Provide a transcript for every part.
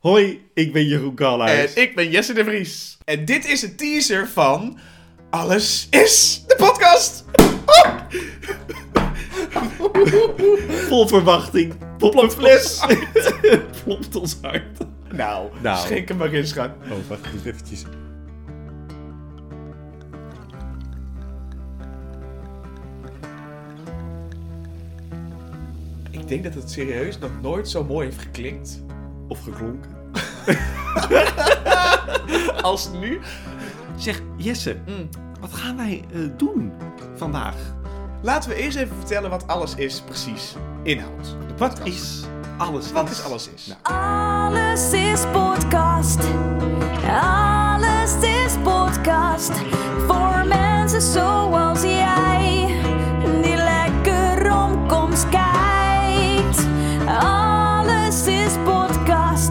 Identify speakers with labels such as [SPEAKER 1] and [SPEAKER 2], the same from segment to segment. [SPEAKER 1] Hoi, ik ben Jeroen Karlhuis.
[SPEAKER 2] En ik ben Jesse de Vries. En dit is een teaser van Alles is de podcast. Oh!
[SPEAKER 1] Vol verwachting. Plopt ons
[SPEAKER 2] fles.
[SPEAKER 1] uit. Plopt ons uit.
[SPEAKER 2] Nou,
[SPEAKER 1] Nou.
[SPEAKER 2] schrik hem maar in, schat.
[SPEAKER 1] Oh, wacht eens eventjes.
[SPEAKER 2] Ik denk dat het serieus nog nooit zo mooi heeft geklinkt
[SPEAKER 1] Of geklonken.
[SPEAKER 2] als nu.
[SPEAKER 1] Zeg, Jesse,
[SPEAKER 2] Mm.
[SPEAKER 1] wat gaan wij eh, doen vandaag?
[SPEAKER 2] Laten we eerst even vertellen wat Alles is precies inhoudt. De podcast.
[SPEAKER 1] Wat is alles?
[SPEAKER 2] Wat is Alles is?
[SPEAKER 1] Nou.
[SPEAKER 3] Alles is podcast. Alles is podcast. Voor mensen zoals jij. Die lekker romcoms kijkt. Alles is podcast.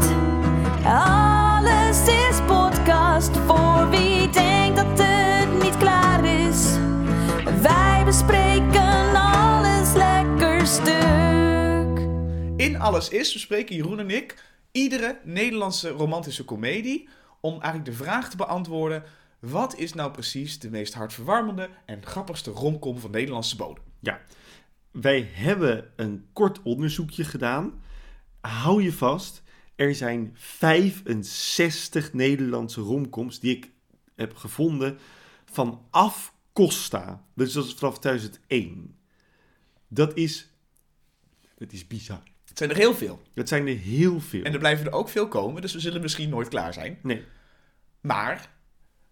[SPEAKER 3] Alles is podcast. Voor wie denkt dat het niet klaar is. Wij bespreken alles lekker stuk.
[SPEAKER 2] In Alles Is bespreken Jeroen en ik iedere Nederlandse romantische komedie om eigenlijk de vraag te beantwoorden: wat is nou precies de meest hartverwarmende en grappigste romcom van Nederlandse bodem?
[SPEAKER 1] Ja. Wij hebben een kort onderzoekje gedaan. Hou je vast. Er zijn 65 Nederlandse romcoms die ik heb gevonden vanaf Costa. Dus dat is vanaf 2001. Dat is... Dat is bizar.
[SPEAKER 2] Het zijn er heel veel.
[SPEAKER 1] Dat zijn er heel veel.
[SPEAKER 2] En er blijven er ook veel komen, dus we zullen misschien nooit klaar zijn.
[SPEAKER 1] Nee.
[SPEAKER 2] Maar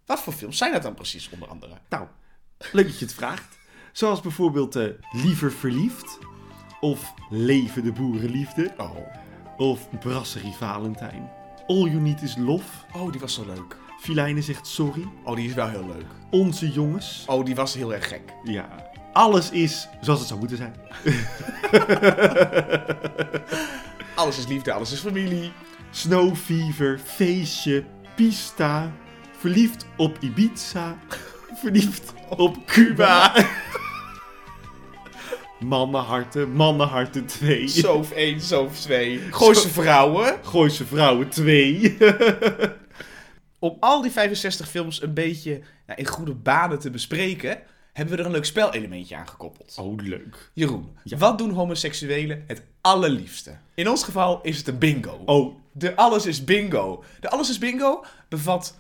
[SPEAKER 2] wat voor films zijn dat dan precies, onder andere?
[SPEAKER 1] Nou, leuk dat je het vraagt. Zoals bijvoorbeeld eh, Liever Verliefd. Of Leven de Boerenliefde.
[SPEAKER 2] Oh,
[SPEAKER 1] Of Brasserie Valentijn. All You Need Is Love.
[SPEAKER 2] oh die was zo leuk.
[SPEAKER 1] Filijnen zegt sorry.
[SPEAKER 2] Oh, die is wel heel leuk.
[SPEAKER 1] Onze jongens.
[SPEAKER 2] Oh, die was heel erg gek.
[SPEAKER 1] Ja, alles is zoals het zou moeten zijn.
[SPEAKER 2] Alles is liefde, alles is familie.
[SPEAKER 1] Snow Fever, feestje, pista. Verliefd op Ibiza. Verliefd op Cuba. Mannenharten, mannenharten 2.
[SPEAKER 2] Zoof 1, Zoof 2. Gooise vrouwen.
[SPEAKER 1] Gooise vrouwen 2.
[SPEAKER 2] om al die 65 films een beetje nou, in goede banen te bespreken, hebben we er een leuk spelelementje aan gekoppeld.
[SPEAKER 1] Oh, leuk.
[SPEAKER 2] Jeroen,
[SPEAKER 1] Ja.
[SPEAKER 2] wat doen homoseksuelen het allerliefste? In ons geval is het een bingo.
[SPEAKER 1] Oh,
[SPEAKER 2] De Alles is Bingo. De Alles is Bingo bevat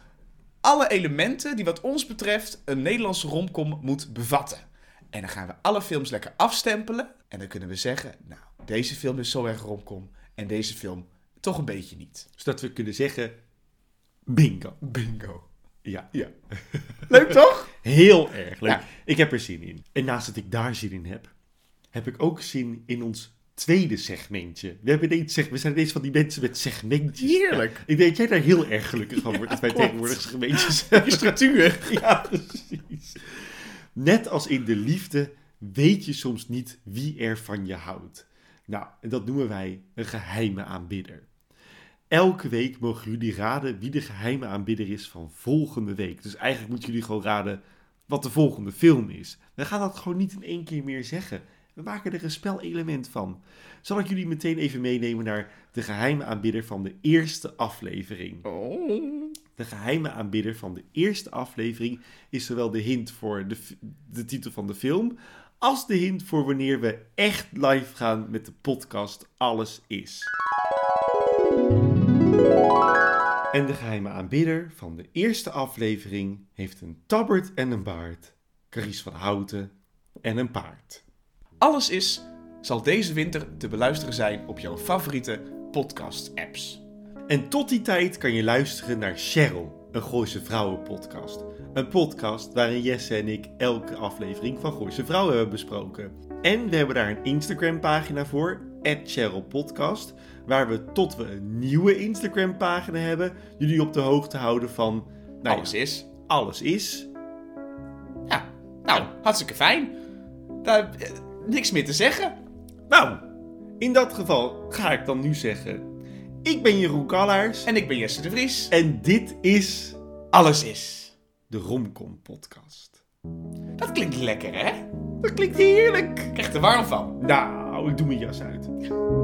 [SPEAKER 2] alle elementen die wat ons betreft een Nederlandse romcom moet bevatten. En dan gaan we alle films lekker afstempelen en dan kunnen we zeggen, nou, deze film is zo erg romcom en deze film toch een beetje niet.
[SPEAKER 1] zodat Dus we kunnen zeggen bingo.
[SPEAKER 2] Bingo.
[SPEAKER 1] Ja,
[SPEAKER 2] Ja. Leuk toch?
[SPEAKER 1] heel erg leuk.
[SPEAKER 2] Ja.
[SPEAKER 1] Ik heb er zin in. En naast dat ik daar zin in heb, heb ik ook zin in ons tweede segmentje. We, hebben ineens, zeg- we zijn ineens van die mensen met segmentjes.
[SPEAKER 2] Heerlijk.
[SPEAKER 1] Ja, ik denk dat jij daar heel erg gelukkig van wordt, dat wij
[SPEAKER 2] klopt.
[SPEAKER 1] tegenwoordig segmentjes
[SPEAKER 2] Je structuur.
[SPEAKER 1] Ja, precies. Net als in de liefde weet je soms niet wie er van je houdt. Nou, en dat noemen wij een geheime aanbidder. Elke week mogen jullie raden wie de geheime aanbidder is van volgende week. Dus eigenlijk moeten jullie gewoon raden wat de volgende film is. We gaan dat gewoon niet in één keer meer zeggen. We maken er een spelelement van. Zal ik jullie meteen even meenemen naar de geheime aanbidder van de eerste aflevering. De geheime aanbidder van de eerste aflevering is zowel de hint voor de, f- de titel van de film. als de hint voor wanneer we echt live gaan met de podcast Alles is. En de geheime aanbidder van de eerste aflevering heeft een tabbert en een baard. Caries van Houten en een paard.
[SPEAKER 2] Alles is zal deze winter te beluisteren zijn op jouw favoriete podcast-apps.
[SPEAKER 1] Nou En tot die tijd kan je luisteren naar Cheryl, een Gooise Vrouwenpodcast. Een podcast waarin Jesse en ik elke aflevering van Gooise Vrouwen hebben besproken. En we hebben daar een Instagram-pagina voor, @CherylPodcast, waar we tot we een nieuwe Instagram-pagina hebben, jullie op de hoogte houden van nou ja,
[SPEAKER 2] Alles is.
[SPEAKER 1] alles is.
[SPEAKER 2] Ja, nou, hartstikke fijn. Daar eh, niks meer te zeggen.
[SPEAKER 1] Nou, in dat geval ga ik dan nu zeggen: ik ben Jeroen Kallaars
[SPEAKER 2] En ik ben Jesse de Vries.
[SPEAKER 1] en dit is
[SPEAKER 2] Alles is.
[SPEAKER 1] de Romcom-podcast.
[SPEAKER 2] Dat klinkt lekker, hè? Dat klinkt heerlijk. Ik krijg er warm van.
[SPEAKER 1] Nou, ik doe mijn jas uit.